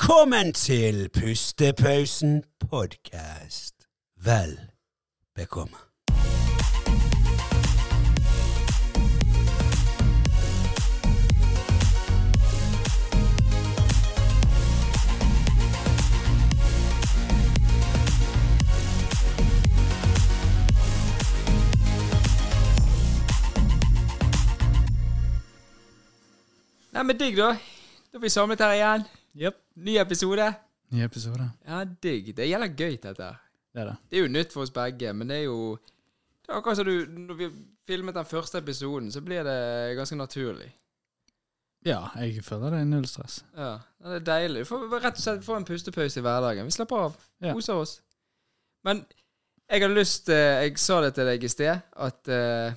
Velkommen til Pustepausen podkast. Vel bekomme. Nei, men digg, da. Da er vi samlet her igjen. Jepp. Ny episode. Ny episode. Ja, digg. Det gjelder gøy, dette her. Det er det. Det er jo nytt for oss begge, men det er jo Det er akkurat som du Når vi filmet den første episoden, så blir det ganske naturlig. Ja, jeg føler det er null stress. Ja, ja, Det er deilig. Du får rett og slett få en pustepause i hverdagen. Vi slapper av. Ja. Koser oss. Men jeg har lyst eh, Jeg sa det til deg i sted, at eh,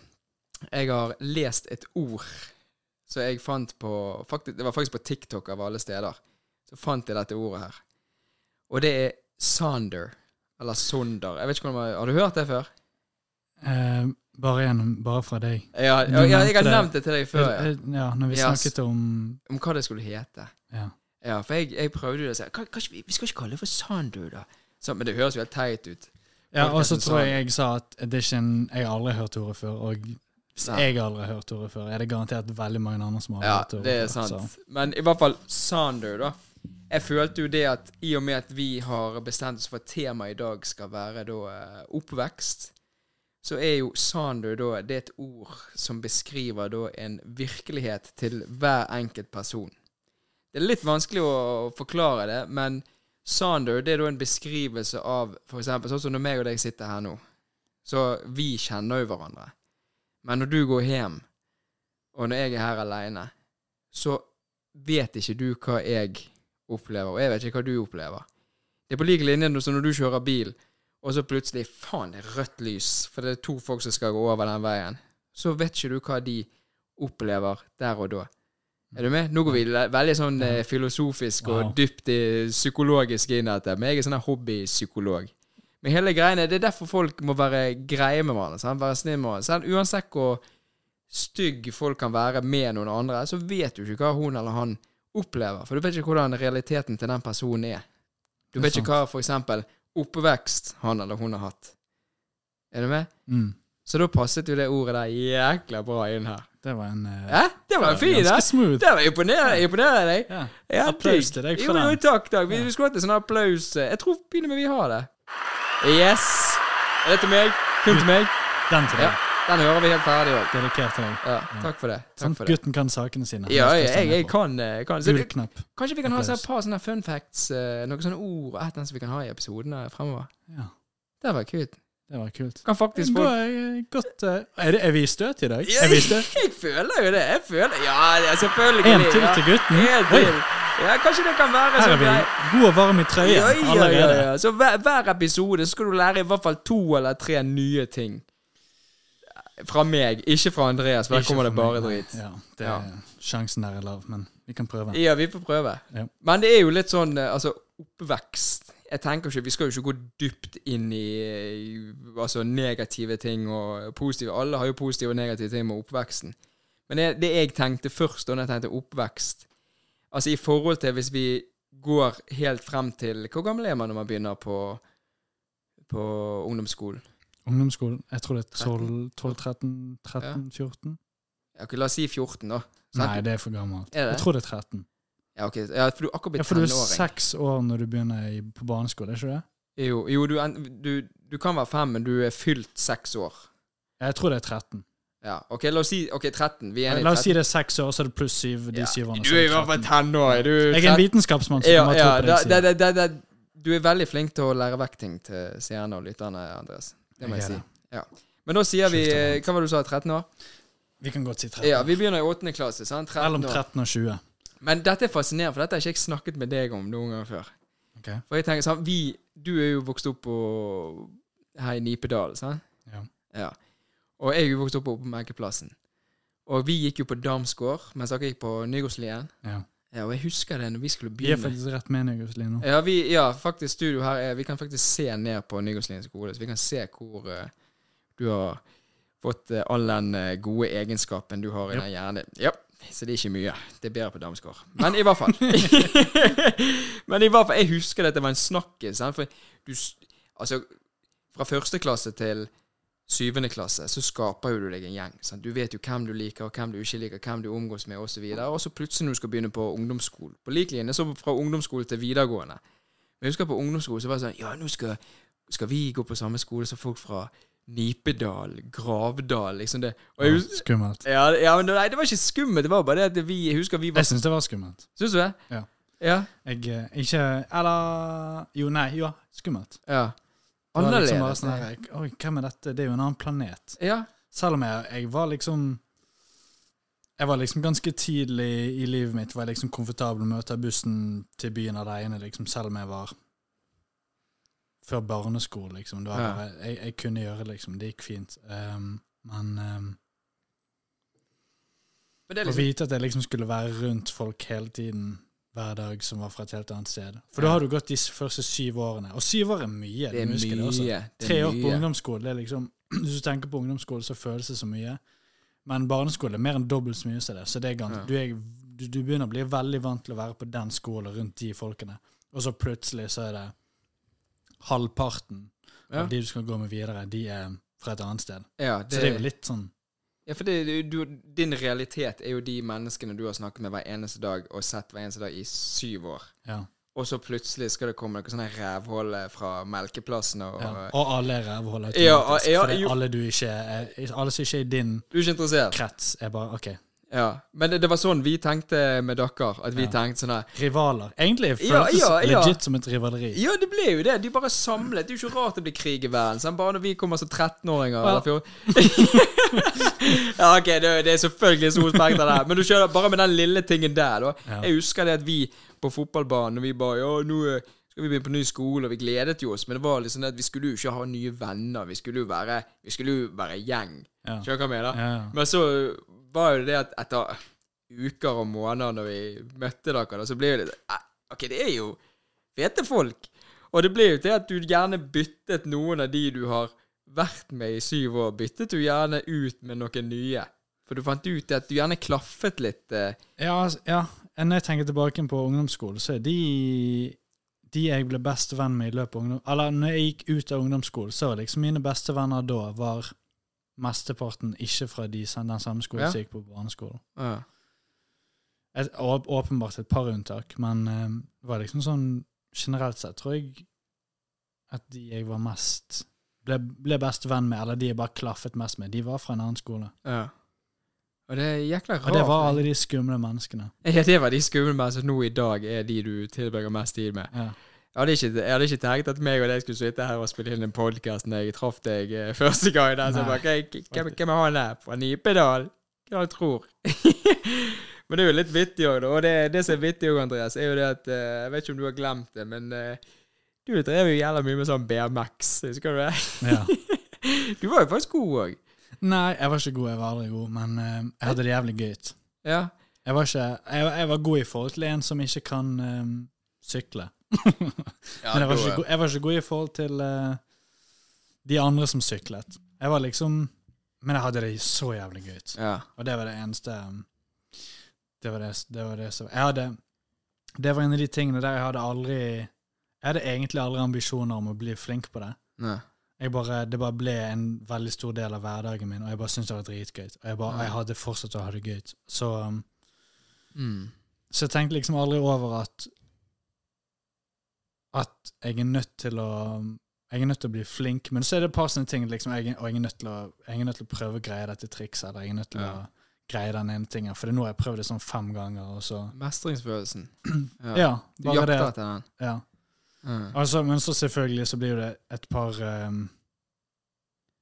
jeg har lest et ord som jeg fant på faktisk, Det var faktisk på TikTok av alle steder. Så fant jeg dette ordet her. Og det er Sander. Eller Sonder. Jeg vet ikke hvordan man, Har du hørt det før? Eh, bare gjennom, bare fra deg. Ja, Du ja, ja, jeg har nevnte- nevnt det til deg før. Ja. Eh, Ja, når vi Ja, s- snakket om Om hva det skulle hete. ja. Ja, for jeg, jeg prøvde jo det. og sa, "Kan- kanskje Vi vi skal ikke kalle det for Sandu, da. Så, men det høres jo helt teit ut. ja, og så Podcasten tror sa- jeg jeg sa at edition Jeg har aldri hørt ordet før, og hvis Nei. jeg aldri har hørt ordet før, er det garantert veldig mange andre som har Ja, hørt ordet det er før, sant. Men i hvert fall Sandu, da. Jeg følte jo det at i og med at vi har bestemt oss for at temaet i dag skal være da eh, oppvekst, så er jo Sandu da det er et ord som beskriver da en virkelighet til hver enkelt person. Det er litt vanskelig å forklare det, men Sander, det er da en beskrivelse av for eksempel sånn som når meg og deg sitter her nå. Så vi kjenner jo hverandre. Men når du går hjem, og når jeg er her alene, så vet ikke du hva jeg opplever, og jeg vet ikke hva du opplever. Det er på like linje som når du kjører bil, og så plutselig faen, det er rødt lys, for det er to folk som skal gå over den veien. Så vet ikke du hva de opplever der og da. Er du med? Nå går vi le- veldig sånn eh, filosofisk Wow. og dypt i- psykologisk inn i dette, men jeg er sånn her hobbypsykolog. Men hele greiene, det er derfor folk må være greie med hverandre, sant? være snille med hverandre. sant? Uansett hvor stygg folk kan være med noen andre, så vet du ikke hva hun eller han opplever. For du vet ikke hvordan realiteten til den personen er. Du Det er vet ikke hva for eksempel oppvekst han eller hun har hatt. Er du med? Så. Mm, Så da passet jo det ordet der jækla bra inn her. det var en eh, Hæ? Det var fint, ganske da! smooth. Det var imponerende, imponerende deg. Ja. Ja, Applaus digg. til deg Jo, for jo, den. takk, takk. Vi Ja. vi skulle hatt en sånn applaus. Jeg tror begynner med vi har det. Yes. Er det til meg? Kun til meg? Den til Ja. deg. Den hører vi helt ferdig òg. Dedikert til deg. Ja, takk for det. Sånn Takk for det. gutten kan sakene sine. Ja, Han skal jeg, stå jeg, ned jeg for. kan, eh, kan. Så, Gul det- knapp. kanskje vi kan ha sånn Applaus. et par sånne fun facts, eh, noen sånne ord og et eller annet som vi kan ha i episodene fremover. Ja, Det var kult. det var kult. Kan faktisk Da folk er jeg godt eh, er, det, er vi i støt i dag? Ja, Er vi i støt? Jeg føler jo det. Jeg føler Ja, det er selvfølgelig. En til ja. til gutten. En Oi, til. Ja, kanskje det kan være her er sånn vi grei- god og varm i trøya Ja, ja, allerede. ja, ja. Så hver, hver episode så skal du lære i hvert fall to eller tre nye ting. Fra meg, ikke fra Andreas, for der Ikke kommer det for bare meg, nei. drit. Ja, det er, Sjansen der er lav, men vi kan prøve. Ja, vi får prøve. Ja. Men det er jo litt sånn eh, altså, oppvekst. Jeg tenker ikke, Vi skal jo ikke gå dypt inn i eh, altså, negative ting og positive. Alle har jo positive og negative ting med oppveksten. Men det, det jeg tenkte først da jeg tenkte oppvekst Altså i forhold til hvis vi går helt frem til Hvor gammel er man når man begynner på, på ungdomsskolen? Ungdomsskolen, jeg tror det er 12, 12 13, 13 14? Ja, ok, La oss si 14, da. Sant? Nei, det er for gammelt. Er det? Jeg tror det er 13. Ja, ok, ja, for du er akkurat Ja, blitt for du er tenåring. seks år når du begynner i, på barneskole, er ikke det? Jo, jo du, en- du, du kan være fem, men du er fylt seks år. Jeg tror det er 13. Ja, ok, la oss si ok, 13. Vi er enige i La oss si 13. det er seks år, så er det pluss syv de syv årene. Du så er det i hvert fall 13. tenåring. Du Jeg er en vitenskapsmann, så ja, du må ja, tro på det da, jeg da, da, sier. da, da, Du er veldig flink til å lære vekk ting til seerne og lytterne, Andreas. Det må Jeg jeg er si. Ja. Men da sier vi Skifter eh, land. Hva var det du sa? 13 år? Vi kan godt si 13. Ja, vi begynner i 8. klasse. sant? 13 Mellom år. 13 og 20. Men dette er fascinerende, for dette har ikke jeg snakket med deg om noen gang før. Ok. For jeg tenker sånn, vi, Du er jo vokst opp på, her i Nipedal, sant? Ja. ja. Og jeg er jo vokst opp på Melkeplassen. Og vi gikk jo på Damsgård, mens dere gikk på Nygårdslien. Ja. Ja, og jeg husker det når vi skulle Vi er begynne. faktisk rett med deg, Guslin, nå. Ja, vi, ja, faktisk studio her er Vi kan faktisk se ned på Nygårdslien skole, så vi kan se hvor eh, du har fått eh, all den eh, gode egenskapen du har i Ja. den hjernen. Ja, Så det er ikke mye. Det er bedre på Damsgaard. Men i hvert fall. Men i hvert fall, jeg husker dette var en snakkis. sant? For du s- Altså, fra første klasse til syvende klasse så skaper jo du deg en gjeng. Sant? Du vet jo hvem du liker, og hvem du ikke liker, hvem du omgås med, osv. Og så plutselig når du skal begynne på ungdomsskolen På lik linje så fra ungdomsskole til videregående. Men jeg husker på ungdomsskolen så var det sånn Ja, nå skal, skal vi gå på samme skole som folk fra Nipedal, Gravdal, liksom det. Og jeg Ja, hus- Skummelt. ja, det- ja, men nei, det var ikke skummelt. Det var bare det at vi jeg husker vi var Jeg syns det var skummelt. Syns du det? Ja. Ja. Jeg eh, ikke Eller Jo, nei. Ja, skummelt. ja. Det var liksom bare Annerledes. sånn her, Oi, hvem er dette? Det er jo en annen planet. ja. Selv om jeg, jeg var liksom Jeg var liksom ganske tidlig i livet mitt var jeg liksom komfortabel med å ta bussen til byen alene, liksom, selv om jeg var før barneskole, liksom. Det var Ja. bare, jeg, jeg kunne gjøre det, liksom. Det gikk fint. Ehm, men ehm, Men det er å liksom vite at jeg liksom skulle være rundt folk hele tiden, hver dag, som var fra et helt annet sted For Ja. da har du gått de første syv årene. Og syv år er mye. Det er du husker det også. mye. Det Tre er år på mye. ungdomsskole, det er liksom Hvis du tenker på ungdomsskole, så føles det så mye. Men barneskole er mer enn dobbelt så mye som det. Så det er gans Ja. du, er, du, du begynner å bli veldig vant til å være på den skolen rundt de folkene, og så plutselig så er det halvparten Ja. av de du skal gå med videre, de er fra et annet sted. Ja, Så det er jo litt sånn ja, for det, du, din realitet er jo de menneskene du har snakket med hver eneste dag og sett hver eneste dag i syv år. Ja. Og så plutselig skal det komme noe sånn her rævhull fra Melkeplassen og ja. Og alle er rævhull automatisk. Ja, ja, fordi jo. alle du ikke er, Alle som ikke er i din Du er ikke interessert? krets, er bare OK. Ja. Men det, det var sånn vi tenkte med dere. At vi Ja. tenkte sånn her Rivaler. Egentlig Ja, føltes det ja, ja. legit som et rivaleri. Ja, det ble jo det. De bare samlet. Det er jo ikke rart det blir krig i verden. Sant? Bare når vi kommer som 13-åringer. Ja. eller 14. ja, ok, det, det er selvfølgelig så spekter der. Men du skjønner, bare med den lille tingen der, da. Ja. Jeg husker det at vi på fotballbanen, og vi bare Ja, nå eh, skal vi begynne på ny skole, og vi gledet jo oss, men det var liksom det at vi skulle jo ikke ha nye venner. Vi skulle jo være Vi skulle jo være gjeng. Ja. Skjønner du hva jeg mener? Ja. Men så var jo det at etter uker og måneder når vi møtte dere, da, så ble jo det eh, Ok, det er jo fete folk. Og det ble jo til at du gjerne byttet noen av de du har vært med i syv år, byttet du gjerne ut med noen nye. For du fant ut at du gjerne klaffet litt. eh, Ja, altså, ja. Når jeg tenker tilbake på ungdomsskolen, så er de de jeg ble best venn med i løpet av ungdom... Eller når jeg gikk ut av ungdomsskolen, så var liksom mine beste venner da var mesteparten ikke fra de, sam- den samme skolen Ja. som jeg gikk på barneskolen. Ja. Et, å- åpenbart et par unntak, men eh, det var liksom sånn generelt sett, tror jeg, at de jeg var mest ble, ble best venn med, eller de jeg bare klaffet mest med, de var fra en annen skole. ja. Og det er jækla rart. Og det var alle de skumle menneskene. Ja, det var de skumle mennene som nå i dag er de du tilbringer mest tid med. Ja. Jeg hadde, ikke, jeg hadde ikke tenkt at meg og deg skulle sitte her og spille inn en podkast når jeg traff deg eh, første gang. Der, så jeg bare, "Hvem- hvem, hvem er han der? Fra Nipedal? Hva han tror? men det er jo litt vittig òg, Og det, det som er vittig òg, Andreas, er jo det at eh, Jeg vet ikke om du har glemt det, men eh, du drev jo jævla mye med sånn BMX. Husker du det? ja. Du var jo faktisk god òg. Nei, jeg var ikke god. Jeg var aldri god, men eh, jeg hadde det jævlig gøy. Ja. Jeg var, ikke, jeg, jeg var god i forhold til en som ikke kan eh, sykle. men jeg var, ikke, go- jeg var ikke god i forhold til eh, de andre som syklet. Jeg var liksom Men jeg hadde det så jævlig gøy. Ja. Og det var det eneste um, Det var det, det, var det som Jeg hadde Det var en av de tingene der jeg hadde aldri Jeg hadde egentlig aldri ambisjoner om å bli flink på det. Nei. Jeg bare, det bare ble en veldig stor del av hverdagen min, og jeg bare syntes det var dritgøy. Og jeg, bare, Ja. jeg hadde fortsatt å ha det gøy. Så, um, Mm. så jeg tenkte liksom aldri over at at jeg er nødt til å jeg er nødt til å bli flink, men så er det et par sånne ting liksom, jeg, og jeg er, nødt til å, jeg er nødt til å prøve å greie dette trikset, eller jeg er nødt til Ja. å greie den ene tingen, for nå har jeg prøvd det sånn fem ganger, og så Mestringsfølelsen. Ja, Du bare det. jakter at- etter den. Ja. Mm. Altså, men så selvfølgelig så blir det et par um,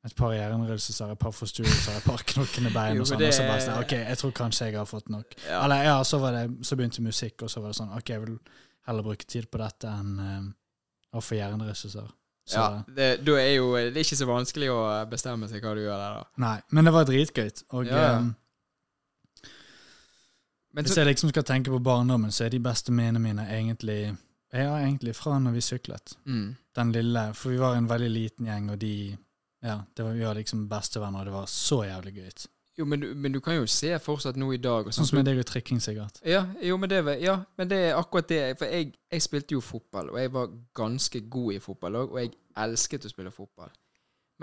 et par hjernerystelser, et par forstyrrelser, et par knokkende bein Jo, og sånn. det- Og så bare sånn, ok, jeg tror kanskje jeg har fått nok. Ja. Eller ja, så, var det, så begynte musikk, og så var det sånn, ok, jeg vil heller bruke tid på dette enn um, å få hjernerystelser. Så, Ja, det, da er jo, eh, det er ikke så vanskelig å eh, bestemme seg hva du gjør der, da. Nei, men det var dritgøy. Og Ja, ja. um, Men hvis så, jeg liksom skal tenke på barndommen, så er de beste minnene mine egentlig ja, egentlig fra når vi syklet. mm, den lille For vi var en veldig liten gjeng, og de Ja, det var, vi var liksom bestevenner, og det var så jævlig gøy. Jo, men, du- men du kan jo se fortsatt nå i dag og Sånn sånn. som med deg og trikking, sikkert. Ja, jo, men det, var- ja, men det er akkurat det. For jeg, jeg spilte jo fotball, og jeg var ganske god i fotball òg, og jeg elsket å spille fotball.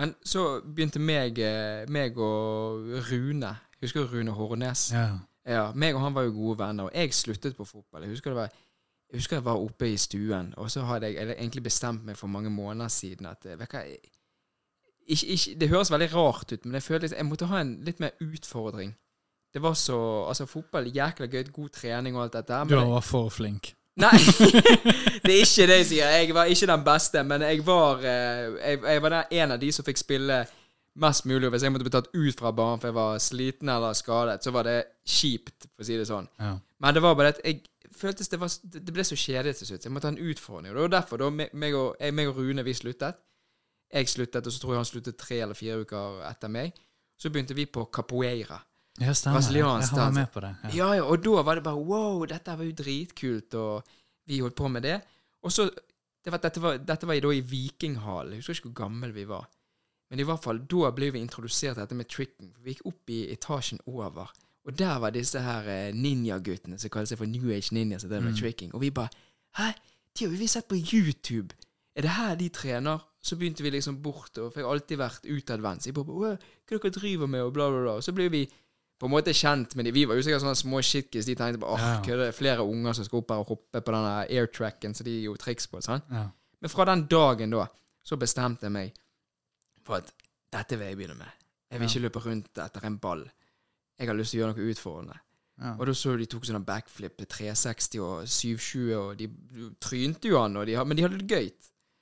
Men så begynte meg, eh, meg og Rune Jeg Husker du Rune Hornes? Ja. Ja. meg og han var jo gode venner, og jeg sluttet på fotball. Jeg husker, det var, jeg husker jeg var oppe i stuen, og så hadde jeg eller egentlig bestemt meg for mange måneder siden at eh, vet du hva, jeg- ikke, ikke, Det høres veldig rart ut, men jeg følte liksom- jeg måtte ha en litt mer utfordring. Det var så Altså, fotball jækla gøy, god trening og alt dette. her, Du Men var for flink. Nei, det er ikke det jeg sier. Jeg var ikke den beste, men jeg var, eh, jeg, jeg var den en av de som fikk spille mest mulig. Hvis jeg måtte bli tatt ut fra banen for jeg var sliten eller skadet, så var det kjipt, for å si det sånn. Ja. Men det var bare at jeg føltes det, var, det ble så kjedelig til slutt. så Jeg måtte ha en utfordring. Og det var derfor da meg- meg og, jeg, meg og Rune vi sluttet. Jeg sluttet, og så tror jeg han sluttet tre eller fire uker etter meg. Så begynte vi på capoeira. Ja, stemmer. det. Brasiliansk Jeg har dans. vært med på det. Ja. Ja, ja, og da var det bare wow, dette var jo dritkult, og vi holdt på med det. Og så, det var, dette, var, dette var da i Vikinghallen, jeg husker ikke hvor gammel vi var. Men i hvert fall, da ble vi introdusert til dette med tricking. Vi gikk opp i etasjen over, og der var disse her eh, ninja-guttene, som kaller seg for New Age Ninja, som drev med tricking. Og vi bare, hæ, de har jo vi sett på YouTube. Er det her de trener? Så begynte vi liksom bort, og for jeg har alltid vært utadvendt. Så jeg bare, «Åh, hva dere driver med, og bla bla bla. Og så ble vi på en måte kjent med de. Vi var jo sikkert sånne små shitkis. De tenkte på åh, Ja. hva er det flere unger som skal opp her og hoppe på denne airtracken, så de gjorde triks på. sant? Ja. Men fra den dagen da, så bestemte jeg meg for at dette vil jeg begynne med. Jeg vil Ja. ikke løpe rundt etter en ball. Jeg har lyst til å gjøre noe utfordrende. Ja. Og da så du de tok sånne backflip til 360 og 720, og de trynte jo han, og de, ha- men de hadde det gøy.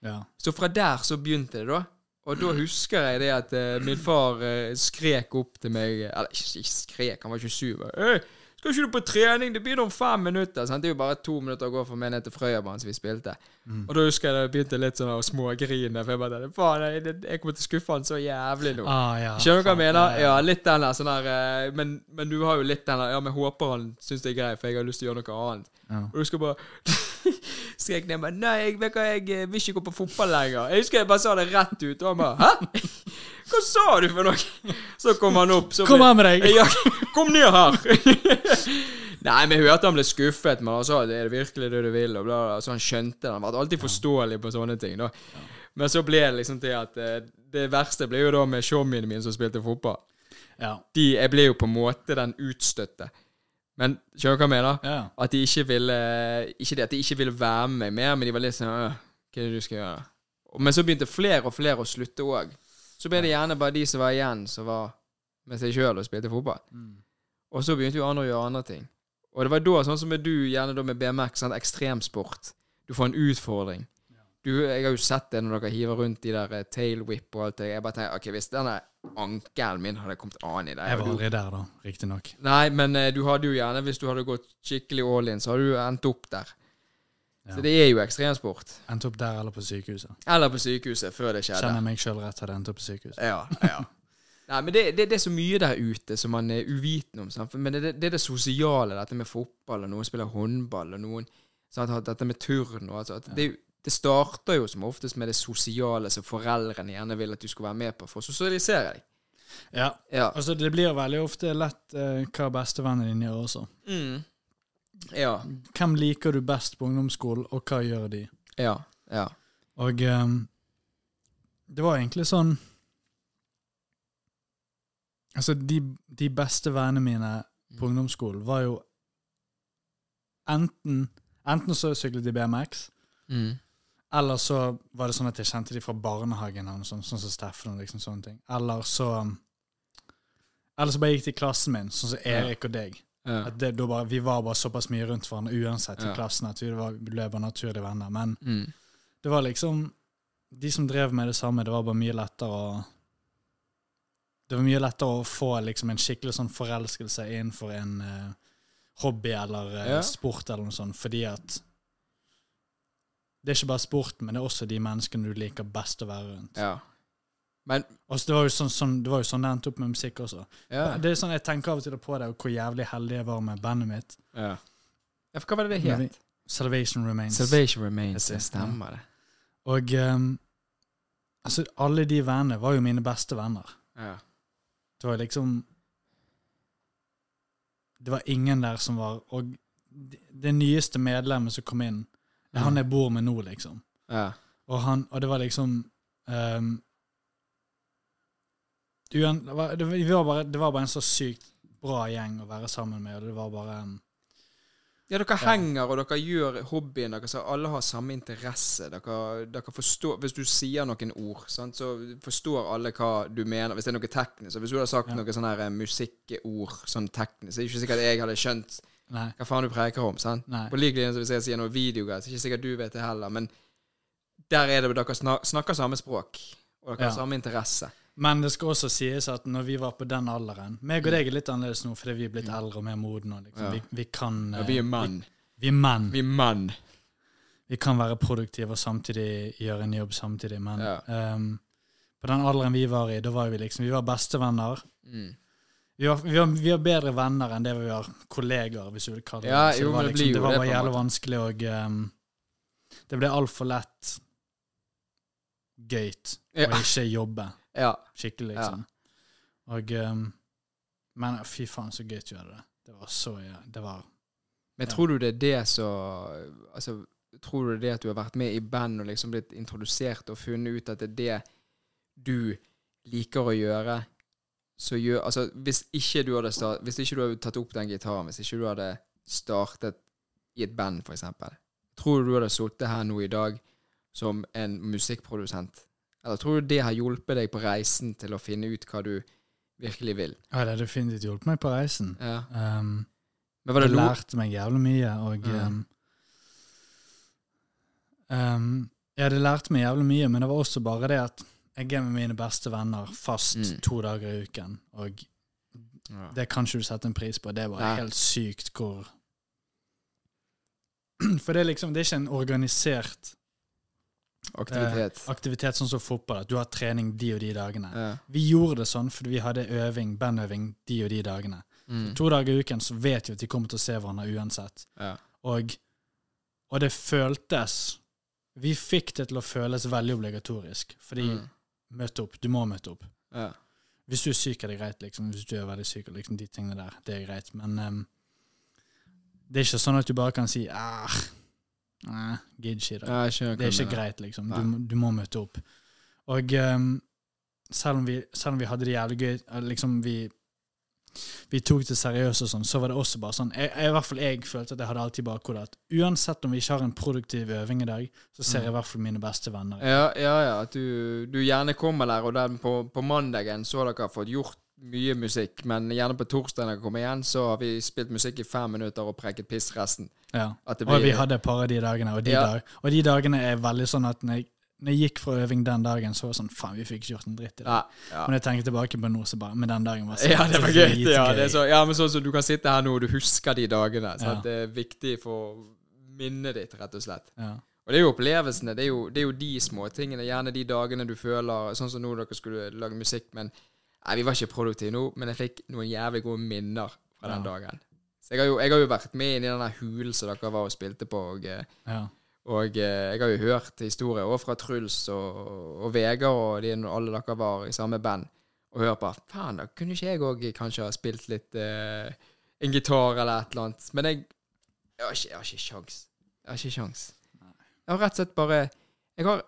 Ja. Så fra der så begynte det, da. Og da husker jeg det at eh, min far eh, skrek opp til meg Eller ikke, ikke skrek, han var 27. bare, «Øy, skal ikke du på trening? Det begynner om fem minutter. Sant? Det er jo bare to minutter å gå for meg ned til Frøyabanen, som vi spilte. Og da husker jeg det begynte litt sånn å smågrine. For jeg bare tenkte faen, jeg, det- jeg kommer til å skuffe han så jævlig nå. Ah, ja. Skjønner du hva jeg Faen, mener? Ja, litt den der sånn der eh, men, men du har jo litt den der Ja, men jeg håper han syns det er greit, for jeg har lyst til å gjøre noe annet. Ja. Og du skal bare skrek ned bare Nei, jeg vet hva, jeg eh, vil ikke gå på fotball lenger. Jeg husker jeg bare sa det rett ut, og han bare Hæ? Hva sa du for noe? Så kom han opp. Så Kom her med deg! ja, kom ned her! Nei, men jeg hørte han ble skuffet, men han sa det er det virkelig det du vil, og bla, bla, bla. Så han skjønte det. Han var alltid forståelig på sånne ting, da. Men så ble det liksom til at eh, det verste ble jo da med showmiene mine som spilte fotball. Ja. De, jeg ble jo på en måte den utstøtte. Men skjønner du hva jeg mener? Ja. At de ikke ville eh, Ikke det at de ikke ville være med meg mer, men de var litt sånn «Øh, Hva er det du skal gjøre? Men så begynte flere og flere å slutte òg. Så ble det gjerne bare de som var igjen, som var med seg sjøl og spilte fotball. Mm. Og så begynte jo andre å gjøre andre ting. Og det var da, sånn som med du, gjerne da med BMX, sant? ekstremsport. Du får en utfordring. Du, jeg har jo sett det når dere hiver rundt de der eh, tailwhip og alt det. Jeg bare tenker, ok, hvis denne ankelen min hadde kommet an i deg Jeg og var du- aldri der, da. Riktignok. Nei, men eh, du hadde jo gjerne, hvis du hadde gått skikkelig all in, så hadde du endt opp der. Ja. Så det er jo ekstremsport. Endte opp der eller på sykehuset. Eller på sykehuset, før det skjedde. Kjenner jeg meg sjøl rett, hadde jeg endt opp på sykehuset. Ja, ja. Nei, men det, det, det er så mye der ute som man er uviten om. Sant? For- Men det, det, det er det sosiale, dette med fotball, og noen spiller håndball, og noen sant? at- Dette med turn og altså, at det, det starter jo som oftest med det sosiale som foreldrene gjerne vil at du skal være med på for å sosialisere deg. Ja. Ja. Altså, det blir veldig ofte lett eh, hva bestevennen din gjør også. Mm. Ja. Hvem liker du best på ungdomsskolen, og hva gjør de? Ja. Ja. Og eh, det var egentlig sånn Altså, de, de beste vennene mine Mm. på ungdomsskolen var jo enten Enten så syklet de BMX, Mm. Eller så var det sånn at jeg kjente de fra barnehagen, eller noe sånt, sånn som Steffen og liksom sånne ting. Eller så Eller så bare gikk de i klassen min, sånn som Erik og deg. Ja. At det, da bare, vi var bare såpass mye rundt hverandre uansett i Ja. klassen at vi var, ble bare naturlige venner. Men Mm. det var liksom De som drev med det samme, det var bare mye lettere å Det var mye lettere å få liksom en skikkelig sånn forelskelse innenfor en eh, hobby eller eh, Ja. sport eller noe sånt, fordi at Det er ikke bare sporten, men det er også de menneskene du liker best å være rundt. ja. Men Altså, det, var jo sånn, sånn, det var jo sånn det endte opp med musikk også. ja. Det er sånn Jeg tenker av og til på det, og hvor jævlig heldig jeg var med bandet mitt. ja. ja. For hva var det det Men vi- het? Salvation Remains. Salvation Remains. Heter det. Det stemmer, det. Og ehm, altså, alle de vennene var jo mine beste venner. Ja. Det var liksom det var ingen der som var Og det- det nyeste medlemmet som kom inn, det er han jeg bor med nå, liksom. Ja. Og, han, og det var liksom ehm, uan- det, var, det, var- vi var bare, det var bare en så sykt bra gjeng å være sammen med, og det var bare en Ja, dere henger, og dere gjør hobbyen deres. Alle har samme interesse. Dere, dere forstår, Hvis du sier noen ord, sant, så forstår alle hva du mener. Hvis det er noe teknisk. og Hvis du hadde sagt Ja. noe sånn her eh, musikkord sånn teknisk, så er det ikke sikkert jeg hadde skjønt Nei. hva faen du preker om. sant? nei. På lik linje som hvis jeg sier noe videogreier, så er det ikke sikkert du vet det heller. Men der er det dere snak, snakker samme språk, og dere Ja. har samme interesse. Men det skal også sies at når vi var på den alderen meg og deg er litt annerledes nå fordi vi er blitt eldre og mer modne. og Liksom. Ja. Vi, vi kan Ja, vi eh, er mann. vi er menn. Vi er mann. Vi kan være produktive og samtidig gjøre en jobb samtidig, men Ja. ehm, på den alderen vi var i, da var vi liksom Vi var bestevenner. Mm. Vi var, vi, var, vi var bedre venner enn det vi var kolleger, hvis du vil kalle det Ja, Så jo, det. Var men det liksom, blir jo det var det bare på en jævlig måte. vanskelig, og ehm, det ble altfor lett gøyt Ja. å ikke jobbe Ja. skikkelig, liksom. Og ehm, Men fy faen, så gøy du hadde det. Det var så ja, Det var Men Ja. tror du det er det som altså, Tror du det er det at du har vært med i band og liksom blitt introdusert og funnet ut at det er det du liker å gjøre, så gjør Altså, hvis ikke du hadde, start, hvis ikke du hadde tatt opp den gitaren, hvis ikke du hadde startet i et band, for eksempel, tror du du hadde sittet her nå i dag som en musikkprodusent? Eller tror du det har hjulpet deg på reisen til å finne ut hva du virkelig vil? Ja, det har definitivt hjulpet meg på reisen. Ja. Um, Men var det Jeg lo... lærte meg jævlig mye, og um, Mm. um, Ja, det lærte meg jævlig mye, men det var også bare det at jeg er med mine beste venner fast Mm. to dager i uken, og det kan ikke du sette en pris på. Det var Nei. helt sykt hvor For det er liksom, det er ikke en organisert Aktivitet. aktivitet sånn som fotball, at du har trening de og de dagene. Ja. Vi gjorde det sånn fordi vi hadde øving, bandøving, de og de dagene. Mm. To dager i uken så vet vi at de kommer til å se hverandre uansett. Ja. Og, og det føltes Vi fikk det til å føles veldig obligatorisk. Fordi Mm. møte opp. Du må møte opp. Ja. Hvis du er syk, er det greit. liksom. Hvis du er veldig syk, og liksom de tingene der, det er greit. Men em, det er ikke sånn at du bare kan si ah, nei, gidder ikke i dag. Ja, jeg skjønner hva Det er du ikke mener. greit, liksom. Du, Nei. må- du må møte opp. Og ehm, selv, om vi, selv om vi hadde det jævlig gøy, eh, liksom vi, vi tok det seriøst og sånn, så var det også bare sånn jeg, jeg, I hvert fall jeg følte at jeg hadde alltid i bakhodet at uansett om vi ikke har en produktiv øving i dag, så ser Mm. jeg i hvert fall mine beste venner. Ja, ja, ja. At du, du gjerne kommer der, og den på, på mandagen så har dere fått gjort mye musikk, men gjerne på torsdagen dere kommer igjen, så har vi spilt musikk i fem minutter og preket piss resten. Ja. At det Og vi blir hadde et par av de dagene, og de, Ja. dag, og de dagene er veldig sånn at når jeg, når jeg gikk fra øving den dagen, så var det sånn Faen, vi fikk ikke gjort en dritt i dag. Nei, ja. Men jeg tenker tilbake på nå, så bare Men den dagen var så ja, det var gøy. dritgøy. Ja, det er så, ja, men sånn som du kan sitte her nå, og du husker de dagene. Så Ja. at det er viktig for minnet ditt, rett og slett. Ja. Og det er jo opplevelsene, det er jo, det er jo de små tingene, gjerne de dagene du føler, sånn som nå dere skulle lage musikk, men nei, vi var ikke produktive nå, men jeg fikk noen jævlig gode minner fra den Ja. dagen. Så jeg har, jo, jeg har jo vært med inn i den der hulen som dere var og spilte på, og, eh, Ja. og eh, jeg har jo hørt historier også fra Truls og, og Vegard og de, når alle dere var i samme band, og hørt på, faen da, kunne ikke jeg også kanskje ha spilt litt eh, en gitar eller et eller annet, men jeg, jeg har ikke, jeg har ikke sjans. Jeg har ikke sjans. Jeg har rett og slett bare jeg har,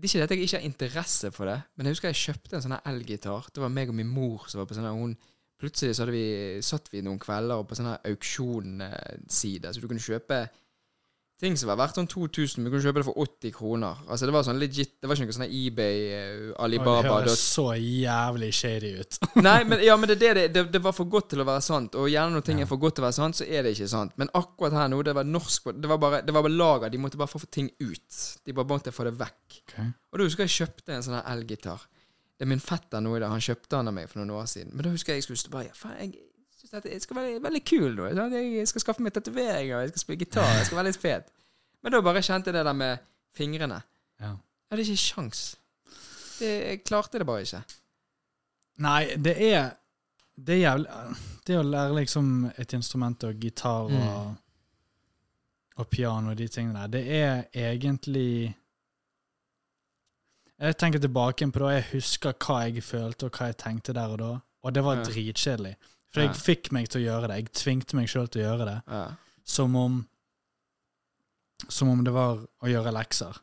Det er ikke det at jeg ikke har interesse for det, men jeg husker jeg kjøpte en sånn her elgitar. Det var meg og min mor som var på sånn her hun, Plutselig så hadde vi, satt vi noen kvelder på sånn her auksjonsside, så du kunne kjøpe ting som var verdt sånn 2000, men du kunne kjøpe det for 80 kroner. Altså Det var sånn legit, det var ikke noe sånn her eBay, eh, Og det Alibaba høres så jævlig shady ut. Nei, men, ja, men det, er det, det, det var for godt til å være sant, og gjerne når ting er for godt til å være sant, så er det ikke sant. Men akkurat her nå, det var norsk Det var bare, det var bare lager. De måtte bare få ting ut. De bare måtte få det vekk. Og da husker jeg kjøpte en sånn her elgitar. Det er min fetter nå i dag. Han kjøpte den av meg for noen år siden. Men da husker jeg jeg skulle stå bare ja, faen, jeg synes dette jeg skal være veldig kul nå. sant? Jeg skal skaffe meg tatoveringer, jeg skal spille gitar, jeg skal være litt fet. Men da bare kjente jeg det der med fingrene. Ja. Jeg hadde ikke sjans. Det, jeg klarte det bare ikke. Nei, det er Det er jævlig Det å lære liksom et instrument og gitar Mm. og, og piano og de tingene der, det er egentlig Jeg tenker tilbake på da jeg husker hva jeg følte og hva jeg tenkte der og da, og det var Ja. dritkjedelig. For Ja. jeg fikk meg til å gjøre det. Jeg tvingte meg sjøl til å gjøre det. Ja. Som om Som om det var å gjøre lekser.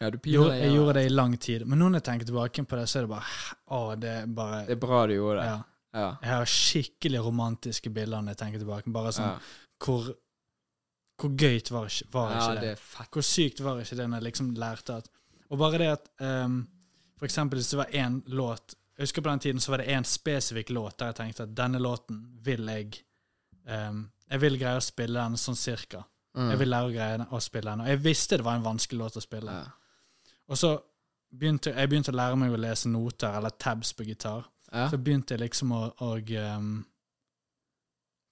ja, du Jo, piler deg, jeg ja. gjorde det i lang tid. Men nå når jeg tenker tilbake på det, så er det bare Å, det er bare Det er bra du gjorde det. ja. Ja. Jeg har skikkelig romantiske bilder når jeg tenker tilbake. Bare Ja. sånn Hvor Hvor gøyt var, ikke- var ja, ikke det? det er fett. Hvor sykt var ikke det når jeg liksom lærte at Og bare det at ehm, For eksempel hvis det var én låt Jeg husker på den tiden så var det én spesifikk låt der jeg tenkte at denne låten vil jeg ehm, Jeg vil greie å spille den sånn cirka. Mm. Jeg vil lære å greie den- å spille den. Og jeg visste det var en vanskelig låt å spille. ja. Og så begynte jeg begynte å lære meg å lese noter eller tabs på gitar. Ja. Så begynte jeg liksom å og, ehm,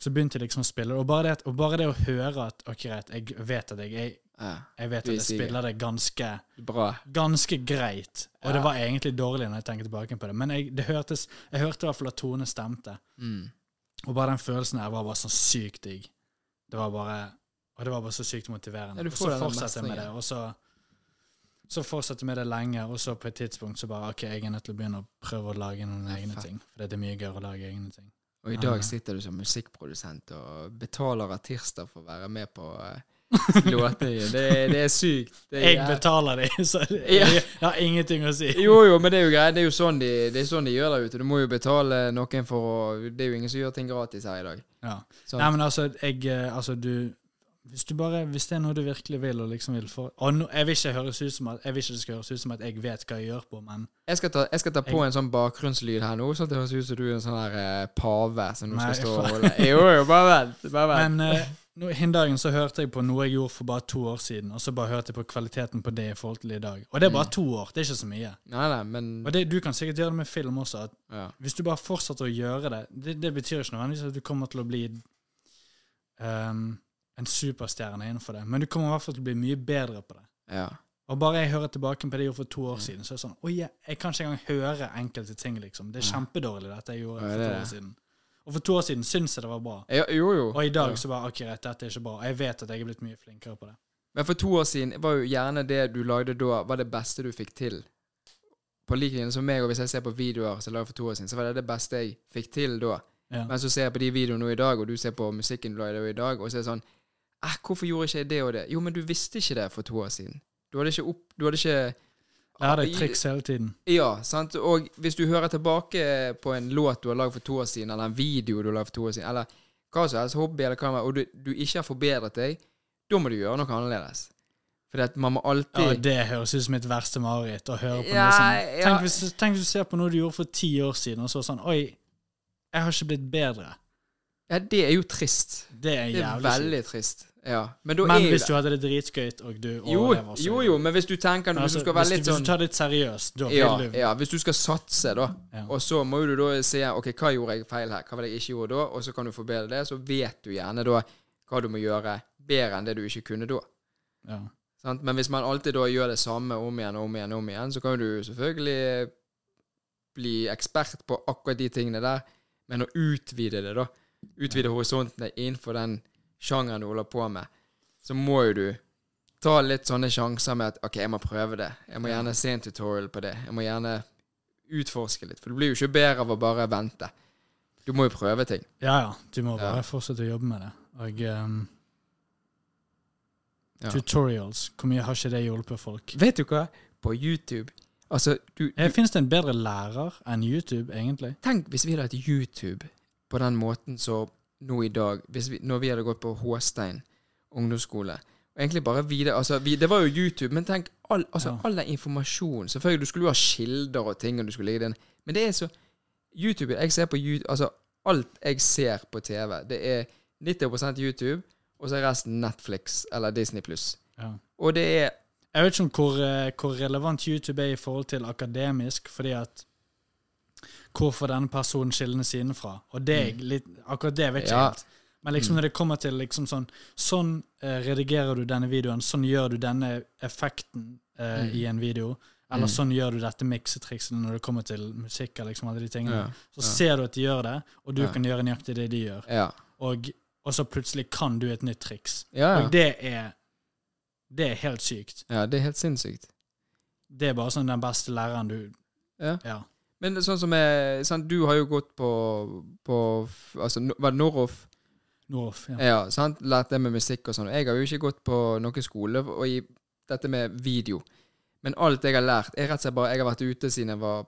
Så begynte jeg liksom å spille. Og bare det, at- og bare det å høre at Ok, greit, jeg vet at jeg, jeg, ja. jeg, vet Du at jeg sier det. spiller det ganske Bra. ganske greit. Og Ja. det var egentlig dårlig når jeg tenker tilbake på det, men jeg, det hørtes, jeg hørte i hvert fall at tonene stemte. Mm. Og bare den følelsen her var bare sånn sykt digg. Det var bare Og det var bare så sykt motiverende. Ja, du og får så den der fortsatte jeg med det, mestringen. og så så fortsatte jeg med det lenge, og så på et tidspunkt så bare OK, jeg er nødt til å begynne å prøve å lage noen Ja, egne fuck. ting. For det er mye gøyere å lage egne ting. Og i Ja, ja. dag sitter du som musikkprodusent og betaler artister for å være med på eh, låtene. Det, er- det er sykt. Det er Jeg jæv- betaler de, så Ja. jeg har ingenting å si. Jo, jo, men det er jo greit. Det er jo sånn de, det er sånn de gjør der ute. Du må jo betale noen for å Det er jo ingen som gjør ting gratis her i dag. Sånn. Ja. Sant? Nei, men altså, jeg, eh, altså du, hvis, du bare, hvis det er noe du virkelig vil og liksom vil for, og nå- jeg, vil ikke høres ut som at, jeg vil ikke det skal høres ut som at jeg vet hva jeg gjør på, men Jeg skal, ta, jeg skal ta på en sånn bakgrunnslyd her nå, sånn at det høres ut som du er en sånn her eh, pave som nå Nei, skal stå og faen. holde Jo, jo, bare vent. Bare vent. Men eh, nå, hin dagen så hørte jeg på noe jeg gjorde for bare to år siden, og så bare hørte jeg på kvaliteten på det i forhold til i dag. Og det Mm. er bare to år, det er ikke så mye. nei, nei, men Og det, du kan sikkert gjøre det med film også, at ja. hvis du bare fortsetter å gjøre det, det, det betyr ikke nødvendigvis at du kommer til å bli ehm, en superstjerne innenfor det, men du kommer i hvert fall til å bli mye bedre på det. ja. Og bare jeg hører tilbake på det jeg gjorde for to Mm. år siden, så er det sånn Oi, jeg, jeg kan ikke engang høre enkelte ting, liksom. Det er kjempedårlig, dette jeg gjorde Ja, for det er to år det. siden. Og for to år siden syntes jeg det var bra. ja. Jo, jo. Og i dag Ja. så bare OK, greit, dette er ikke bra. Og jeg vet at jeg er blitt mye flinkere på det. Men for to år siden var jo gjerne det du lagde da, var det beste du fikk til. På lik linje som meg, og hvis jeg ser på videoer som jeg lagde for to år siden, så var det det beste jeg fikk til da. Ja. Men så ser jeg på de videoene nå i dag, og du ser på musikken du lagde i dag, og så er det sånn Eh, hvorfor gjorde ikke jeg det og det? Jo, men du visste ikke det for to år siden. Du hadde ikke opp... Du hadde ikke Lær deg triks hele tiden. Ja, sant. Og hvis du hører tilbake på en låt du har lagd for to år siden, eller en video du har lagd for to år siden, eller hva som helst, hobby eller hva det er, og du, du ikke har forbedret deg, da må du gjøre noe annerledes. Fordi at man må Ja, alltid det høres ut som mitt verste mareritt å høre på Ja, noe som ja. tenk, hvis, tenk hvis du ser på noe du gjorde for ti år siden, og så sånn Oi, jeg har ikke blitt bedre. Ja, det er jo trist. Det er Det er jævlig kjipt. veldig trist. Ja. Men da Men er jo hvis det du hadde det dritgøyt, og du jo, overlever så- jo, jo, men hvis du tenker Men Hvis altså, du skal være hvis, litt du, hvis sånn du tar det litt seriøst, da ja, vil du ja, hvis du skal satse, da, Ja. og så må du da se ok, hva gjorde jeg feil her, hva var det jeg ikke gjorde da, og så kan du forbedre det, så vet du gjerne da hva du må gjøre bedre enn det du ikke kunne da. ja. Sant? Men hvis man alltid da gjør det samme om igjen og om igjen, og om igjen, så kan jo du selvfølgelig eh, bli ekspert på akkurat de tingene der, men å utvide det, da. Utvide horisontene innenfor den sjangeren du holder på med. Så må jo du ta litt sånne sjanser med at OK, jeg må prøve det. Jeg må gjerne se en tutorial på det. Jeg må gjerne utforske litt. For du blir jo ikke bedre av å bare vente. Du må jo prøve ting. Ja, ja. Du må bare Ja. fortsette å jobbe med det. Og ehm, Ja. tutorials. Hvor mye har ikke det hjulpet folk? Vet du hva? På YouTube Altså, du, du Eh, Fins det en bedre lærer enn YouTube, egentlig? Tenk hvis vi hadde hatt YouTube på den måten som nå i dag, hvis vi, når vi hadde gått på Håstein ungdomsskole. Og egentlig bare videre, altså, vi, Det var jo YouTube, men tenk all, altså, Ja. all den informasjonen. Selvfølgelig, du skulle jo ha kilder og ting, og du skulle ligge den. men det er så YouTube, jeg ser på YouTube, altså Alt jeg ser på TV, det er 90 YouTube, og så er resten Netflix eller Disney pluss. Ja. Og det er Jeg vet ikke om hvor, eh, hvor relevant YouTube er i forhold til akademisk, fordi at Hvor får denne personen kildene sine fra? Og det er jeg litt, akkurat det vet jeg ikke Mm. Ja. Mm. helt. Men liksom når det kommer til liksom sånn Sånn eh, redigerer du denne videoen, sånn gjør du denne effekten eh, Mm. i en video. Eller Mm. sånn gjør du dette miksetrikset når det kommer til musikk. eller liksom alle de tingene. Ja, ja. Så ser du at de gjør det, og du Ja. kan gjøre nøyaktig det de gjør. Ja. Og, og så plutselig kan du et nytt triks. Ja, Og det er, det er helt sykt. ja. ja det er helt sinnssykt. Det er bare sånn den beste læreren du Ja. Men sånn som jeg, sant, du har jo gått på, på f- altså, no- var det Noroff? Norf, ja. Ja, sant? Lært det med musikk og sånn. Jeg har jo ikke gått på noen skole og i dette med video. Men alt jeg har lært, er rett og slett bare Jeg har vært ute siden jeg var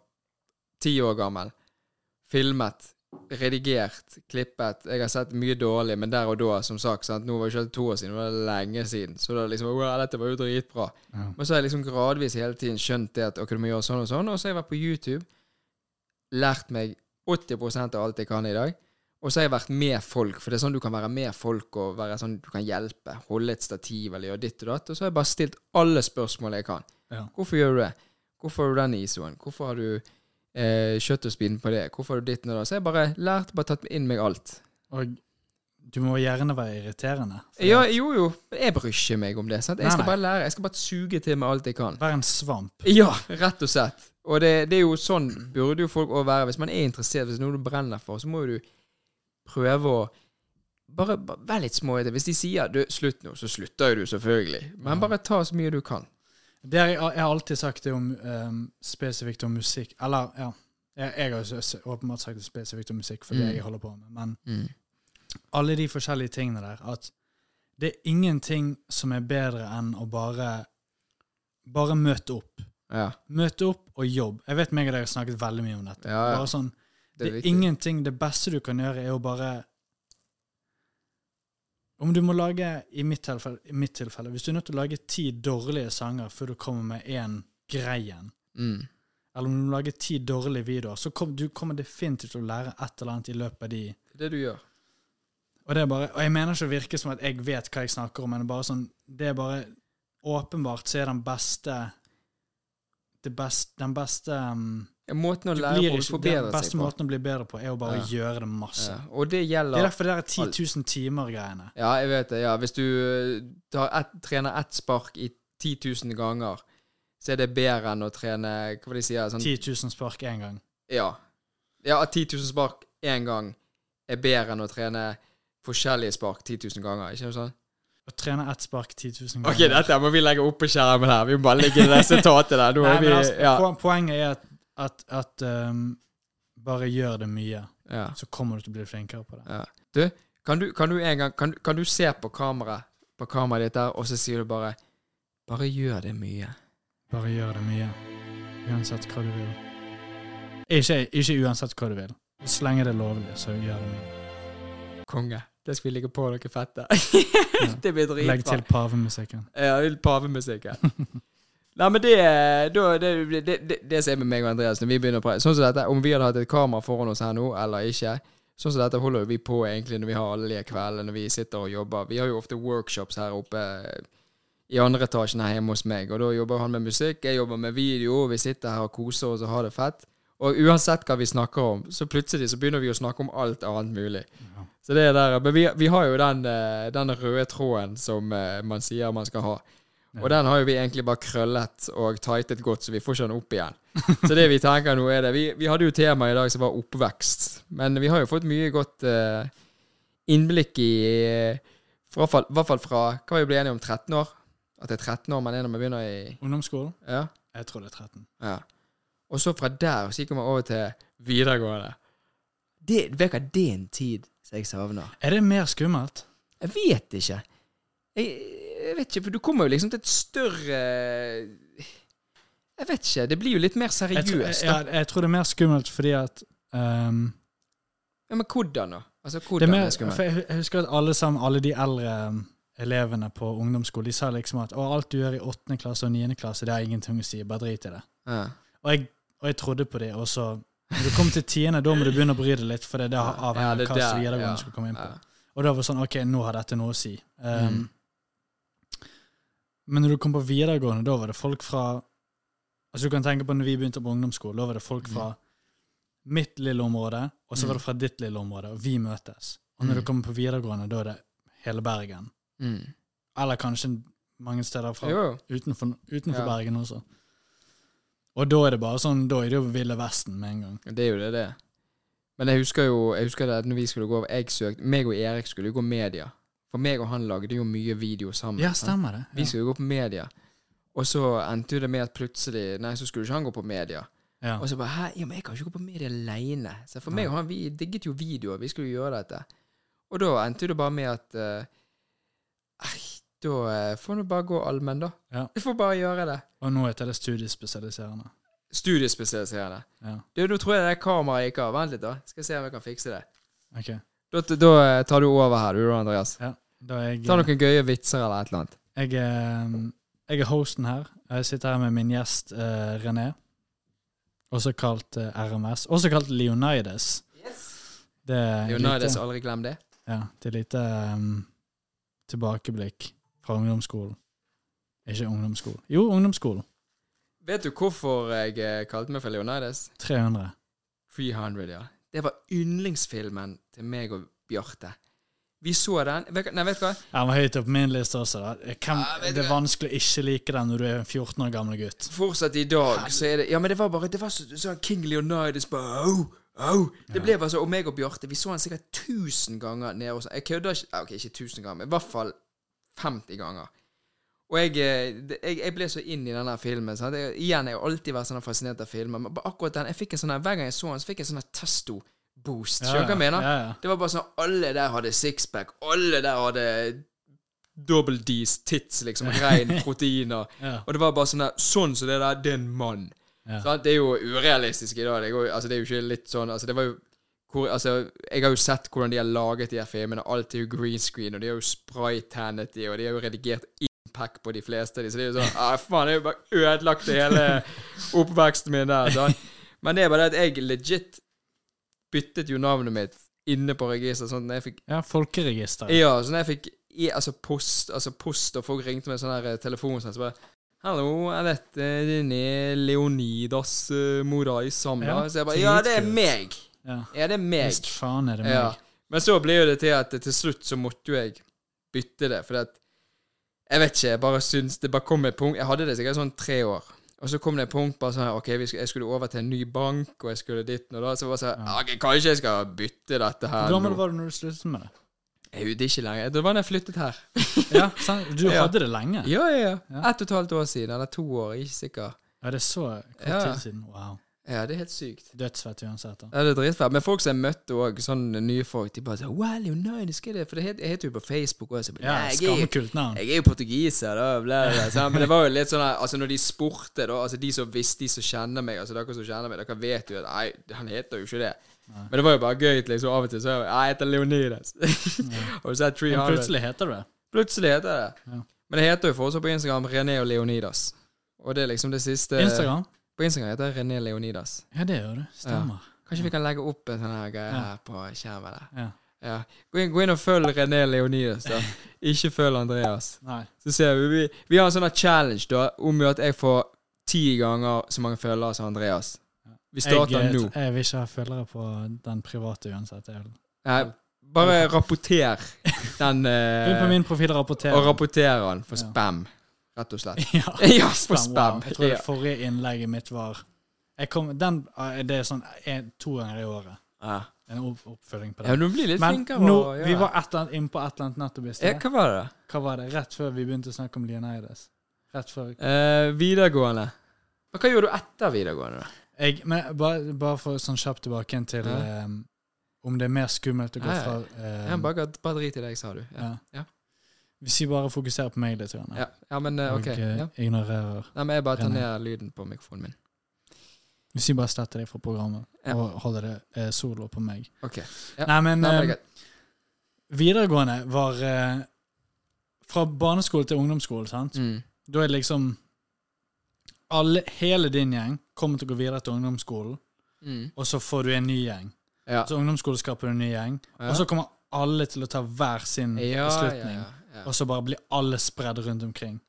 ti år gammel. Filmet, redigert, klippet. Jeg har sett mye dårlig, men der og da, som sagt sant? Nå var det ikke helt to år siden, det var lenge siden. Så da liksom wow, Dette var jo dritbra. ja. Men så har jeg liksom gradvis hele tiden skjønt det at ok, du må gjøre sånn og sånn. Og så har jeg vært på YouTube, lært meg 80 av alt jeg kan i dag. Og så har jeg vært med folk, for det er sånn du kan være med folk og være sånn du kan hjelpe. Holde et stativ eller gjøre ditt og datt. Og så har jeg bare stilt alle spørsmål jeg kan. Ja. Hvorfor gjør du det? Hvorfor har du den isoen? Hvorfor har du eh, kjøttostbiten på det? Hvorfor har du ditt og datt? Så har jeg bare lært, bare tatt inn meg alt. Og du må gjerne være irriterende. for Ja, jo, jo. Jeg bryr ikke meg om det. sant? Jeg Nei, skal nei. bare lære. Jeg skal bare suge til meg alt jeg kan. Være en svamp. Ja, rett og slett. Og det, det er jo sånn burde jo folk også være. Hvis man er interessert, hvis det er noe du brenner for, så må jo du prøve å Bare, bare vær litt småete. Hvis de sier du, 'slutt nå', så slutter jo du selvfølgelig. Men bare ta så mye du kan. Det har jeg, jeg har alltid sagt det om ehm, spesifikt om musikk. Eller, ja. Jeg, jeg har jo s- åpenbart sagt det spesifikt om musikk, for det Mm. jeg holder på med. Men alle de forskjellige tingene der, at det er ingenting som er bedre enn å bare bare møte opp. Ja, Møte opp og jobb. Jeg vet meg og deg har snakket veldig mye om dette. ja, ja. Bare sånn, Det det er er viktig. ingenting Det beste du kan gjøre, er å bare Om du må lage, i mitt tilfelle, i mitt tilfelle Hvis du er nødt til å lage ti dårlige sanger før du kommer med én grei en, Mm. eller om du lager ti dårlige videoer, så kom, du kommer definitivt til å lære et eller annet i løpet av de Det du gjør. Og det er bare, og jeg mener ikke å virke som at jeg vet hva jeg snakker om, men det er bare sånn Det er bare Åpenbart så er den beste det best, Den beste um, Måten å du lære blir på å ikke, Den forbedre seg beste på. måten å bli bedre på, er å bare gjøre det masse. Ja. Og det Det er gjelder derfor det der 10 000 timer-greiene. Ja, jeg vet det. ja. Hvis du eh, tar ett- trener ett spark i 10 000 ganger, så er det bedre enn å trene Hva var det de sier? Sånn 10 000 spark én gang. Ja. ja at 10 000 spark én gang er bedre enn å trene forskjellige spark 10 000 ganger. Ikke noe sånn? Å trene ett spark 10 000 ganger. Ok, dette må vi legge opp på skjermen her. Vi må bare legge resultatet der. Nå Nei, er vi men altså, ja. poen- Poenget er at, at, at um, bare gjør det mye, Ja. så kommer du til å bli flinkere på det. ja. Du, kan du, kan du en gang kan, kan du se på kameraet på kameraet ditt der, og så sier du bare Bare gjør det mye. Bare gjør det mye. Uansett hva du vil. Ikke, ikke uansett hva du vil. Så lenge det er lovlig, så gjør det mye. Konge. Det skal vi ligge på dere fette. Ja. det blir Legg dritbra. til pavemusikken. Ja, litt pavemusikk her. Nei, men det, eh, da, det, det, det, det som er med meg og Andreas når vi begynner å prate Sånn som dette, Om vi hadde hatt et kamera foran oss her nå, eller ikke Sånn som dette holder jo vi på egentlig når vi har alle de kveldene når vi sitter og jobber. Vi har jo ofte workshops her oppe eh, i andre etasjen her hjemme hos meg, og da jobber han med musikk, jeg jobber med video, vi sitter her og koser oss og har det fett. Og uansett hva vi snakker om, så plutselig så begynner vi å snakke om alt annet mulig. Så det er der, Men vi, vi har jo den, eh, den røde tråden som eh, man sier man skal ha. Og den har jo vi egentlig bare krøllet og tightet godt, så vi får ikke den opp igjen. Så det vi tenker nå er det, vi, vi hadde jo tema i dag som var oppvekst, men vi har jo fått mye godt eh, innblikk i eh, fra, fall- I hvert fall fra Hva var vi ble enige om? 13 år? At det er 13 år man er når man begynner i Ungdomsskolen? Ja. Jeg tror det er 13. ja. Og så fra der så gikk man over til videregående. Det, vet du hva, det er en tid som jeg savner. Er det mer skummelt? Jeg vet ikke. Jeg, jeg vet ikke, for du kommer jo liksom til et større Jeg vet ikke. Det blir jo litt mer Jeg, tror- jeg, seriøst. da. jeg, jeg tror det er mer skummelt fordi at um, Ja, Men hvordan, da? Altså, Det hvordan med, det skal for man jeg hu- jeg husker at alle sammen, alle de eldre um, elevene på ungdomsskolen, de sa liksom at å, alt du gjør i åttende klasse og niende klasse, det har ingenting å si, bare drit i det. ja. Og jeg, og jeg trodde på det, og så når du kom til tiende, da må du begynne å bry deg litt, for det er det Ja, avhenger det av hva der, slags videregående ja, du skal komme inn på. ja. Og da var det sånn, ok, nå har dette noe å si. Um, Mm. Men når du kom på videregående, da var det folk fra Altså du kan tenke på når vi begynte på ungdomsskolen, da var det Mm. folk fra mitt lille område, og så var det fra ditt lille område, og vi møtes. Og når Mm. du kommer på videregående, da er det hele Bergen. Mm. Eller kanskje mange steder fra Jo, utenfor, utenfor Ja. Bergen også. Og da er det bare sånn, da er det jo Ville Vesten med en gang. det er jo det, det. Men jeg husker jo jeg husker det at når vi skulle gå over Jeg søkte Meg og Erik skulle jo gå media. For meg og han lagde jo mye video sammen. Ja, sant? stemmer det. Vi skulle jo gå på media. Og så endte jo det med at plutselig Nei, så skulle ikke han gå på media. Ja. Og så bare Hæ, ja, men jeg kan ikke gå på medie aleine. Så for meg og han, vi digget jo videoer. Vi skulle jo gjøre dette. Og da endte det bare med at eh, eh, Da eh, får du bare gå allmenn, da. Ja. Du får bare gjøre det. Og nå heter det studiespesialiserende. Studiespesialiserende. Ja, Du, nå tror jeg det kameraet gikk av. Vent litt, da. Skal jeg se om jeg kan fikse det. ok. Da, da eh, tar du over her, du da, Andreas. Ja. Da er Ta jeg, noen gøye vitser eller et eller annet. jeg, er- jeg er hosten her. Jeg sitter her med min gjest eh, René, også kalt eh, RMS, også kalt Leonidas. Det er Leonidas, lite, aldri glem det. ja, det er lite em, tilbakeblikk fra ungdomsskolen. Ikke ungdomsskolen. Jo, ungdomsskolen. Vet du hvorfor jeg eh, kalte meg for Leonidas? 300. 300, ja. Det var yndlingsfilmen til meg og Bjarte. Vi så den Vet- Nei, vet du hva? Ja, Den var høyt opp på min liste også. da. Jeg kan, Ja, vet du det er hva? vanskelig å ikke like den når du er en 14 år gammel gutt. Fortsatt i dag så er det Ja, men det var bare Det var så, sånn King Leonidas bare au, au. Det ble bare så Og meg og Bjarte, vi så han sikkert 1000 ganger nede hos Jeg kødder ikke ja, Ok, ikke 1000 ganger, men i hvert fall 50 ganger. Og jeg, eh, det- jeg, jeg ble så inn i den her filmen. Sant? Jeg, igjen, jeg har alltid vært sånn fascinert av filmer, men bare akkurat den jeg fikk en sånn her, Hver gang jeg så den, så fikk jeg en sånn her testo-boost. Skjønner du hva jeg mener? Ja, ja. Det var bare sånn Alle der hadde sixpack. Alle der hadde double D's tits, liksom. Rein proteiner. Ja. Og det var bare sånn der Sånn som det der, det er en mann. Ja. Sant? det er jo urealistisk i dag. Det, går, jo- altså, det er jo ikke litt sånn Altså, det var jo hvor, altså, Jeg har jo sett hvordan de har laget de her filmene. Alt er jo green screen, og de har jo spraytannet de, og de har jo redigert impact på de fleste av de, så det er jo sånn ah, Faen, det er jo bare ødelagt det hele oppveksten min der. Sant? Men det er bare det at jeg legit byttet jo navnet mitt inne på registeret. Sånn at jeg fikk ja folkeregister. ja, så når jeg fikk i, altså post, altså post, og folk ringte med sånn her eh, telefon, sånn, så bare Hallo, er dette denne Leonidas eh, Morai Samla? Ja, så jeg bare Ja, det er dritkult. meg! Ja. Ja, det er meg. Visst faen er det meg. Ja. Men så ble jo det til at eh, til slutt så måtte jo jeg bytte det, fordi at Jeg vet ikke, jeg bare syns det bare kom et punkt Jeg hadde det sikkert sånn tre år. Og så kom det et punkt bare sånn her, OK, vi skulle, jeg skulle over til en ny bank, og jeg skulle dit og da. Så jeg bare sånn OK, kanskje jeg skal bytte dette Hvor her gammel nå. var du når du sluttet med det? Jeg er ute ikke lenger. Det var da jeg flyttet her. Ja, sant? Du Ja. hadde det lenge? Ja. Ja, ja, ja. Ett og et halvt år siden, eller to år, jeg er ikke sikker. det er så kort Ja. tid siden. Wow. Ja, det er helt sykt. Dødsfett uansett. da. Ja, det er dritfett. Men folk som jeg møtte òg, sånne nye folk, de bare sånn Wow, Leonidas, hva er det? For det het, jeg heter jo på Facebook òg, så jeg bare Ja, Nei, jeg er jo- Skammekult navn. jeg er jo portugiser, da. Bla, bla, bla, sant? Men det var jo litt sånn her, altså når de spurte, da Altså de som visste, de som kjenner meg, altså dere som kjenner meg, dere vet jo at Nei, han heter jo ikke det. Men det var jo bare gøy, liksom. Av og til så er jeg «Nei, Jeg heter Leonidas. Har du sett Men 300? plutselig heter du det. Plutselig heter jeg det. Ja. Men det heter jo fortsatt på Instagram René og Leonidas. Og det er liksom det siste Instagram? På Instagram heter jeg René Leonidas. Ja, det gjør du. Stemmer. Kanskje vi kan legge opp en sånn her greie her på skjermen der. Ja. Ja. Gå, inn, gå inn og følg René Leonidas, da. Ikke følg Andreas. Nei. Så ser vi, vi Vi har en sånn her challenge da om at jeg får ti ganger så mange følgere som Andreas. Vi starter jeg, nå. eh, Eh, Jeg vil ikke ha følgere på den private uansett. Jeg vil. Nei, bare rapporter den Gå inn på eh, min profil og Og rapporter. rapporter den for Ja. spam, rett og slett. Ja. Ja, for Wow. spam. Jeg tror Ja. det forrige innlegget mitt var jeg kom, den, Det er sånn en, to ganger i året. Ja. En opp, oppfølging på Ja, det. men du blir litt Men flinkere nå, å gjøre vi var et eller annet inne på et eller annet nettopp i ja, sted. Hva var det? Hva var det? Rett før vi begynte å snakke om Leonidas. Rett før Eh, videregående. Men hva gjorde du etter videregående? da? Jeg, men bare, bare for sånn kjapt tilbake igjen til Ja. eh, om det er mer skummelt å gå Ja, ja. fra Jeg eh, har bare, bare drit i det jeg sa, du. Ja, ja. Ja. Hvis vi bare fokuserer på meg litt, grann, ja. ja men eh, OK. og eh, Ja. ignorerer Nei, men jeg bare tar René. ned lyden på mikrofonen min. Hvis vi bare sletter deg fra programmet Ja. og holder det eh, solo på meg OK. Ja. Nei, men Nei, eh, men det er greit. videregående var eh, Fra barneskole til ungdomsskole, sant? Mm. Da er det liksom alle, Hele din gjeng kommer til å gå videre til ungdomsskolen, Mm. og så får du en ny gjeng. Ja. Så ungdomsskolen skaper du en ny gjeng, Ja. og så kommer alle til å ta hver sin ja, ja, beslutning. ja, ja. Og så bare blir alle spredd rundt omkring.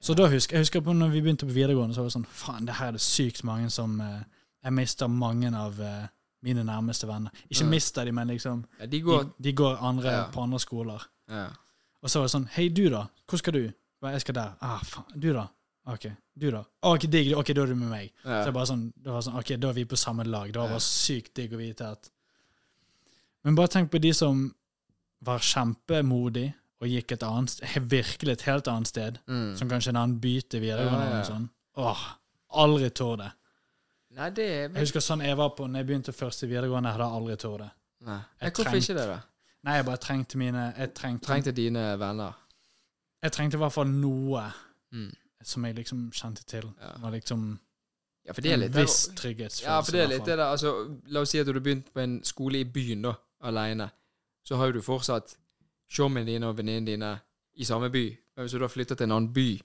Så da husker jeg husker på når vi begynte på videregående, så var det sånn Faen, det her er det sykt mange som eh, Jeg mister mange av eh, mine nærmeste venner. Ikke Ja. mister de, men liksom ja. De De, går de går andre, Ja. på andre skoler. ja. Og så var det sånn Hei, du, da? Hvor skal du? Bare, Jeg skal der. Ah, faen. Du, da? OK. Du, da? OK, digg. OK, da er du med meg. Ja. Så det er bare sånn, det var sånn, ok, da er vi på samme lag. Det var Ja. bare sykt digg å vite at Men bare tenk på de som var kjempemodig og gikk et annet sted, he- virkelig et helt annet sted, Mm. som kanskje en annen by til Ja, videregående ja. eller noe sånt. Åh, aldri tør det. Nei, det er Jeg husker sånn jeg var på når jeg begynte først i videregående, jeg hadde aldri tort det. Nei. Jeg Hvorfor ikke det, da? Nei, jeg bare trengte mine Jeg trengte, Trengte dine venner. Jeg trengte i hvert fall noe Mm. som jeg liksom kjente til. Ja. Det var liksom Ja, for det er litt en viss Ja, for trygghetsfølelse. det i er litt det hvert fall. der, altså, La oss si at du hadde begynt på en skole i byen da, alene. Så har jo du fortsatt showmene dine og venninnene dine i samme by. Men hvis du da flytter til en annen by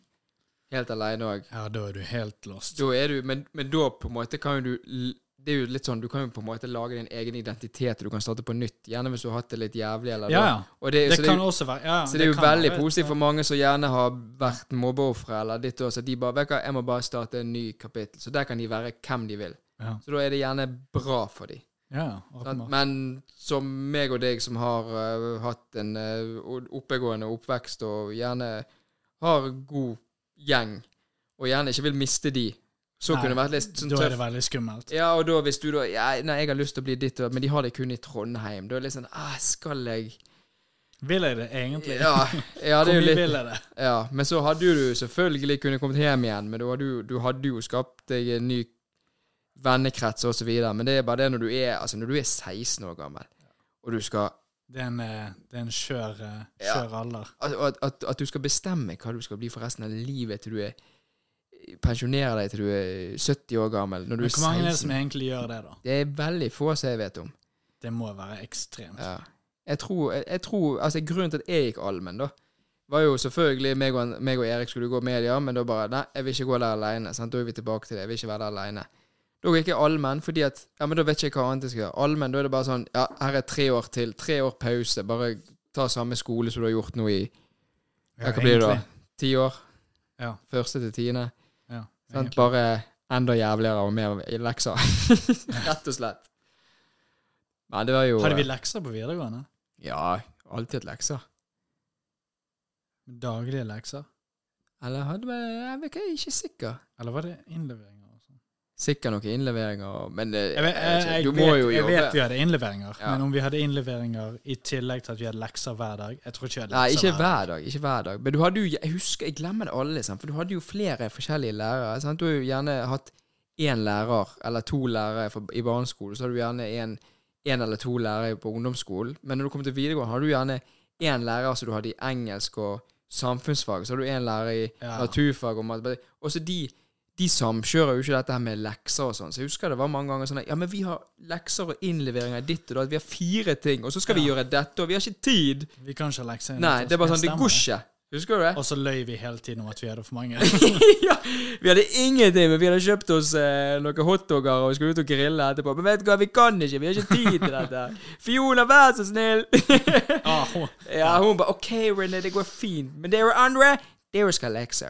helt alene òg, Ja, da er du helt lost. da er du men, men da på en måte kan jo du l- Det er jo litt sånn, du kan jo på en måte lage din egen identitet, og du kan starte på nytt. Gjerne hvis du har hatt det litt jævlig. eller Ja, da. ja. Og det, Det så det, er kan jo- også være ja, så det er jo kan veldig være- positivt for mange som gjerne har vært mobbeofre eller ditt og så de bare vet du hva, jeg må bare starte en ny kapittel. Så der kan de være hvem de vil. Ja, Så da er det gjerne bra for de. ja Sant? åpenbart. Men som meg og deg som har eh, hatt en eh, oppegående oppvekst og gjerne har god gjeng, og gjerne ikke vil miste de, så Nei, kunne det vært litt sånn Da er det tøft. veldig skummelt. Ja, og da hvis du da ja, Nei, jeg har lyst til å bli ditt, og datt, men de har det kun i Trondheim. Da er det litt sånn ah, Skal jeg Vil jeg det egentlig? Ja, ja det Hvor er jo mye litt vil jeg det? ja, Men så hadde jo du selvfølgelig kunnet kommet hjem igjen, men du hadde jo, du hadde jo skapt deg en ny vennekrets og så videre. Men det er bare det når du er, altså når du er 16 år gammel, og du skal Det er en, eh, det er en skjør, eh, Ja. skjør alder. at, at, at, at du skal bestemme hva du skal bli for resten av livet til du er pensjonerer deg til du er 70 år gammel. Når du Men er hvor mange er det som 16. egentlig gjør det, da? Det er veldig få som jeg vet om. Det må være ekstremt. Ja. Jeg tror, jeg, jeg tror altså Grunnen til at jeg gikk allmenn, da, var jo selvfølgelig meg og, meg og Erik skulle gå media, men da bare Nei, jeg vil ikke gå der aleine. sant? Da er vi tilbake til det. Jeg vil ikke være der aleine. Da gikk jeg allmenn, fordi at Ja, men da vet ikke jeg hva annet jeg skal gjøre. Allmenn, da er det bare sånn Ja, her er tre år til. Tre år pause. Bare ta samme skole som du har gjort nå i ja, Hva blir det da? egentlig. Ti år? Ja. Første til tiende? Ja, Sant? egentlig. Bare enda jævligere og mer i lekser. Rett og slett. Nei, det var jo eh, Hadde vi lekser på videregående? Ja, alltid et lekser. Daglige lekser? Eller hadde vi Jeg vet ikke, jeg er ikke sikker. Eller var det innleveringer? og sånn? Sikkert noen innleveringer, og- men det, Jeg, vet- jeg vet jeg, ikke, du jeg, må jo vet, jeg vet vi jobbe. hadde innleveringer, Ja. men om vi hadde innleveringer i tillegg til at vi hadde lekser hver dag Jeg tror ikke vi hadde Nei, lekser ikke hver dag. ikke hver dag. Men du hadde jo, jeg husker, jeg glemmer det alle, sant? for du hadde jo flere forskjellige lærere. sant? Du har jo gjerne hatt én lærer eller to lærere for, i barneskolen, så har du gjerne én en eller to lærere på ungdomsskolen. Men når du kommer til videregående, har du gjerne én lærer som du hadde i engelsk og samfunnsfag, så har du én lærer i Ja. naturfag og matematikk. Også de, de samkjører jo ikke dette her med lekser og sånn. Så jeg husker det var mange ganger sånn at ja, men vi har lekser og innleveringer ditt og datt. Vi har fire ting, og så skal vi Ja. gjøre dette, og vi har ikke tid. Vi kan ikke ha lekser. inne Nei, til oss. det er bare sånn, det stemmer går ikke. Husker du det? Og så løy vi hele tiden om at vi hadde for mange. ja, vi hadde ingenting, men vi hadde kjøpt oss eh, noen hotdogger og skulle ut og grille etterpå. Men vet du hva, vi kan ikke, vi har ikke tid til dette. Fiona, vær så snill! Ah, hun- ja, hun bare OK, René, det går fint. Men dere andre, dere skal ha lekser.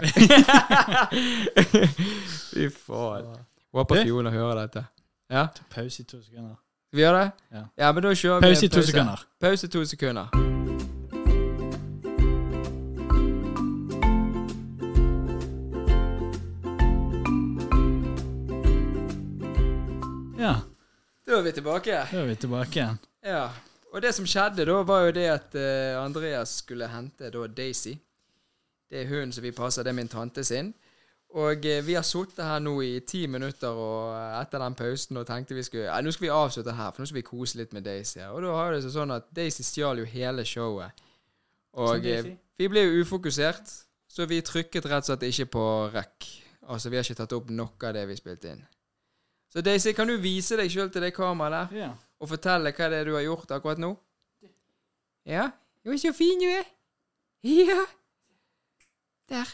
Fy faen. Håper Du? Fiona hører dette. Ja, Pause i to sekunder. vi gjør det? Ja. ja men da kjører vi Pause en i to sekunder. Pause to sekunder. Ja, Da er vi tilbake. da er vi tilbake igjen. Ja, og det som skjedde da, var jo det at eh, Andreas skulle hente da Daisy. Det er hun som vi passer, det er min tante sin. Og eh, vi har sittet her nå i ti minutter og eh, etter den pausen og tenkte vi skulle Ja, nå skal vi avslutte her, for nå skal vi kose litt med Daisy. Og da har det seg sånn at Daisy stjal jo hele showet. Som Og Daisy. eh, vi ble jo ufokusert, så vi trykket rett og slett ikke på rekk. Altså, vi har ikke tatt opp noe av det vi spilte inn. Så Daisy, kan du vise deg sjøl til det kameraet der? Ja. og fortelle hva det er du har gjort akkurat nå? Ja? Jo, så fin du er. Ja. Der.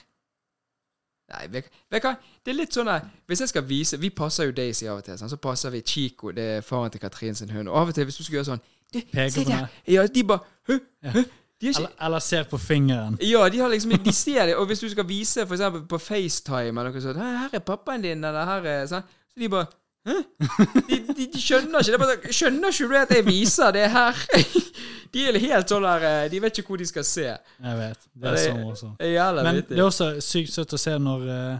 Nei, vet vet du hva, det er litt sånn der Hvis jeg skal vise Vi passer jo Daisy av og til, sant? så passer vi Chico, det er faren til Katrin sin hund. Og av og til, hvis du skulle gjøre sånn du, Peker Se på der! meg. Ja, de bare Hø? Ja. Hø? De er ikke Eller, eller ser på fingeren. ja, de har liksom De ser det. Og hvis du skal vise for eksempel på FaceTime eller noe sånt 'Her her er pappaen din', eller 'her er sånn', så de bare Hæ? De, de, de skjønner ikke det. er Bare, sånn, skjønner ikke du at jeg viser det her? De er helt sånn der eh, De vet ikke hvor de skal se. Jeg vet. Det Ja, er det- så morsomt. Det er Jævla Men det er vittig. også sykt søtt å se når eh,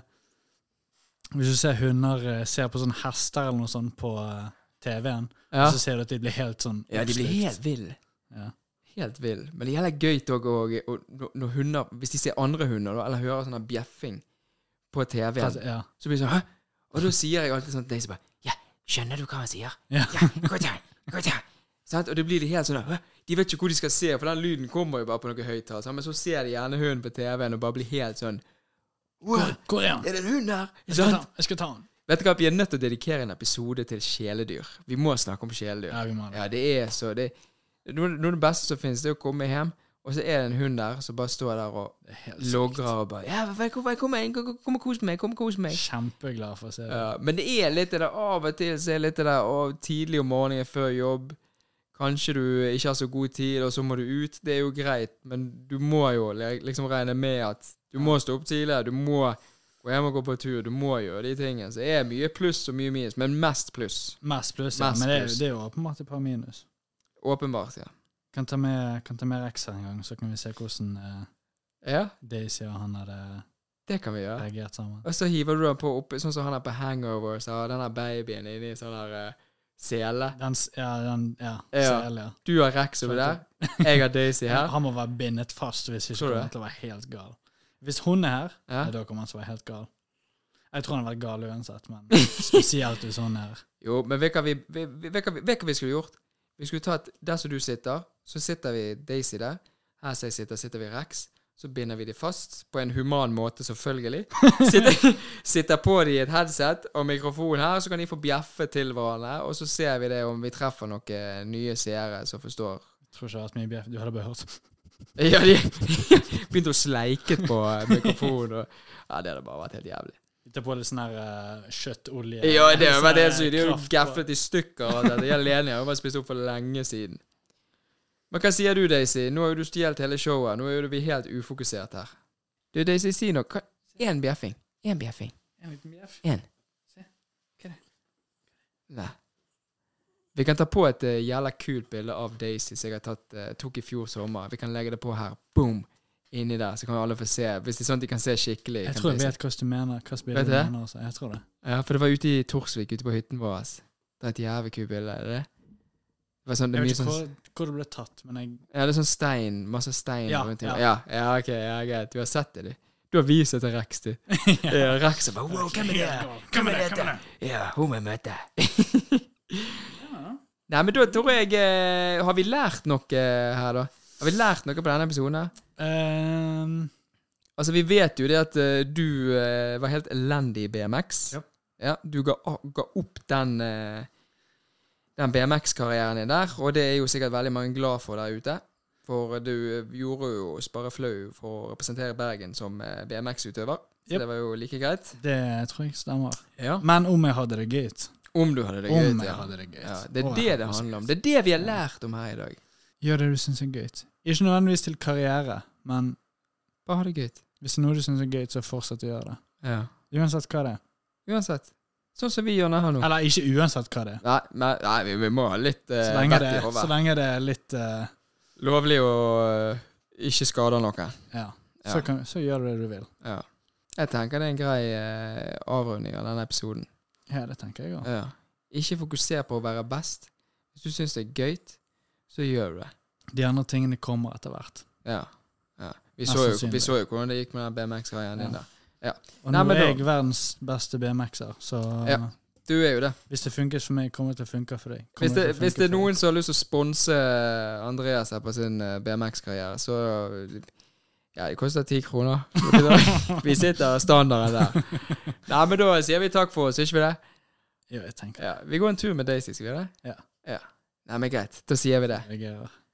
Hvis du ser hunder eh, ser på sånne hester eller noe sånt på eh, TV-en, Ja. så ser du at de blir helt sånn ja, de blir oppslukt. helt ville. Ja. Helt vill. Men det er jævla gøy òg når, når hunder Hvis de ser andre hunder, da, eller hører sånn her bjeffing på TV-en, Fast- Altså, ja. så blir det sånn 'hæ?' Og da sier jeg alltid sånn til Daisy bare Skjønner du hva han sier? Ja. Ja, gå der, gå der. Sant? Og det blir de helt sånn «Hæ?» De vet ikke hvor de skal se, for den lyden kommer jo bare på noe høyttaler. sant? Men så ser de gjerne hunden på TV-en og bare blir helt sånn Hvor, «Wow, hvor er han? Er det en hund her? Jeg skal, ta, Sant? jeg skal ta han. Vet du hva, Vi er nødt til å dedikere en episode til kjæledyr. Vi må snakke om kjæledyr. Ja, vi må det. Ja, det er så det, Noe noe av det beste som finnes, det er å komme hjem, og så er det en hund der som bare står der og logrer og bare ja, vel- vel- 'Kom inn, kom- kom og kos meg. Kom og kos meg.' Kjempeglad for å se det. Ja, Eh, men det er litt det der av og til så er det litt det der og tidlig om morgenen før jobb. Kanskje du ikke har så god tid, og så må du ut. Det er jo greit, men du må jo le- liksom regne med at du må stå opp tidlig, du må gå hjem og gå på tur, du må gjøre de tingene. Så det er mye pluss og mye minus, men mest pluss. Mest pluss, ja. Mest Men det, er- pluss. det er jo åpenbart et par minus. Åpenbart, ja. Kan ta med, kan ta med Rex her en gang, så kan vi se hvordan eh, Ja, Daisy og han hadde det kan vi gjøre. reagert sammen. Og så hiver du den på oppi, sånn som han er på hangover, så har den her babyen inni en sånn her eh, sele. Den, s- ja, den, ja, Ja. sel, ja. Du har Rex over der, jeg har Daisy her. Han må være bindet fast hvis ikke Tror du kommer det? han til å være helt gal. Hvis hun er her, Ja. ja, da kommer han til å være helt gal. Jeg tror han har vært gal uansett, men spesielt hvis hun er her. Jo, men vet du hva vi, vi, vi, vet hva vi, vet hva vi skulle gjort? Vi skulle tatt der som du sitter, så sitter vi Daisy der. Her som jeg sitter, sitter vi Rex. Så binder vi de fast, på en human måte, selvfølgelig. Sitter, sitter på de i et headset og mikrofon her, så kan de få bjeffe til hverandre. Og så ser vi det om vi treffer noen nye seere som forstår. Tror ikke det har vært mye bjeff. Du hadde bare hørt Ja, de begynte å sleike på mikrofonen. Og, ja, det hadde bare vært helt jævlig. Ta på litt sånn her eh, kjøttolje. Ja, det var det Sånn som her De er jo kraft på- gafflet i stykker. og alt dette. De alene har jo bare spist opp for lenge siden. Men hva sier du, Daisy? Nå har jo du stjålet hele showet. Nå er jo vi helt ufokusert her. Du, Daisy, si noe. Hva- Én bjeffing. Én bjeffing. En liten bjeff. Én. Se. Hva er det? Nei. Vi kan ta på et eh, jævla kult bilde av Daisy som jeg har tatt, eh, tok i fjor sommer. Vi kan legge det på her. Boom! Inni der, så kan alle få se. Hvis det er sånn at de kan se skikkelig. Jeg kan tror jeg Daisy- vet hva du mener. Hva spiller Vet du du det? mener, altså. Jeg tror det. Ja, for det var ute i Torsvik, ute på hytten vår. ass. Det er et jævlig kult bilde, er det det? Det var sånn, det Jeg er mye vet ikke sånn hvor, hvor det ble tatt, men jeg Ja, det er sånn stein, masse stein Ja, rundt i ja. ja. ja, ok, ja, greit. Du har sett det, du. Du har vist det til Rex, du. ja, Eh, Rex er bare Wow, hvem er det? Hvem er dette? Ja, hun må jeg møte. Nei, men da tror jeg eh, Har vi lært noe eh, her, da? Har vi lært noe på denne episoden? her? Ehm, Altså, vi vet jo det at eh, du eh, var helt elendig i BMX. Ja. Ja, du ga, ga opp den, eh, den BMX-karrieren din der, og det er jo sikkert veldig mange glad for der ute. For eh, du gjorde jo oss bare flau for å representere Bergen som eh, BMX-utøver. Så Yep. det var jo like greit. det tror jeg stemmer. Ja. Men om jeg hadde det gøy. Om du hadde det gøy. Om jeg ja. hadde det gøy. Ja, det er Å, det jeg det hadde handler om. gøy. Det er det vi har lært om her i dag. Gjør det du syns er gøy. Ikke nødvendigvis til karriere, men Bare ha det gøy. hvis det er noe du syns er gøy, så fortsett å gjøre det. Ja. Uansett hva det er. Uansett. Sånn som vi gjør nå her nå. Eller ikke uansett hva det er. Nei, men- nei, vi, vi må ha litt Så eh, lenge vett det, i er- hodet. så lenge det er litt eh, Lovlig å øh, ikke skade noen. Ja. Ja. Så, kan, så gjør du det du vil. Ja. Jeg tenker det er en grei øh, avrunding av denne episoden. Ja, det tenker jeg òg. Ja. Ikke fokuser på å være best. Hvis du syns det er gøy, så gjør du det. De andre tingene kommer etter hvert. Ja. Ja. Vi, Mest så jo, vi sannsynlig. så jo hvordan det gikk med den BMX-greien din Ja. der. Nei, Og nå men er da- jeg verdens beste BMX-er, så eh, Ja. Du er jo det. hvis det funket for meg, kommer det til å funke for deg. Kommer Hvis det, til å hvis funke det er for deg. noen som har lyst til å sponse eh, Andreas her på sin øh, BMX-karriere, så Ja, det koster ti kroner. Vi sitter standarden der. Nei, men da sier vi takk for oss, ikke vi det? Jo, jeg tenker Ja, Vi går en tur med Daisy, skal vi gjøre det? Ja. Nei, men greit. Da sier vi det. jeg er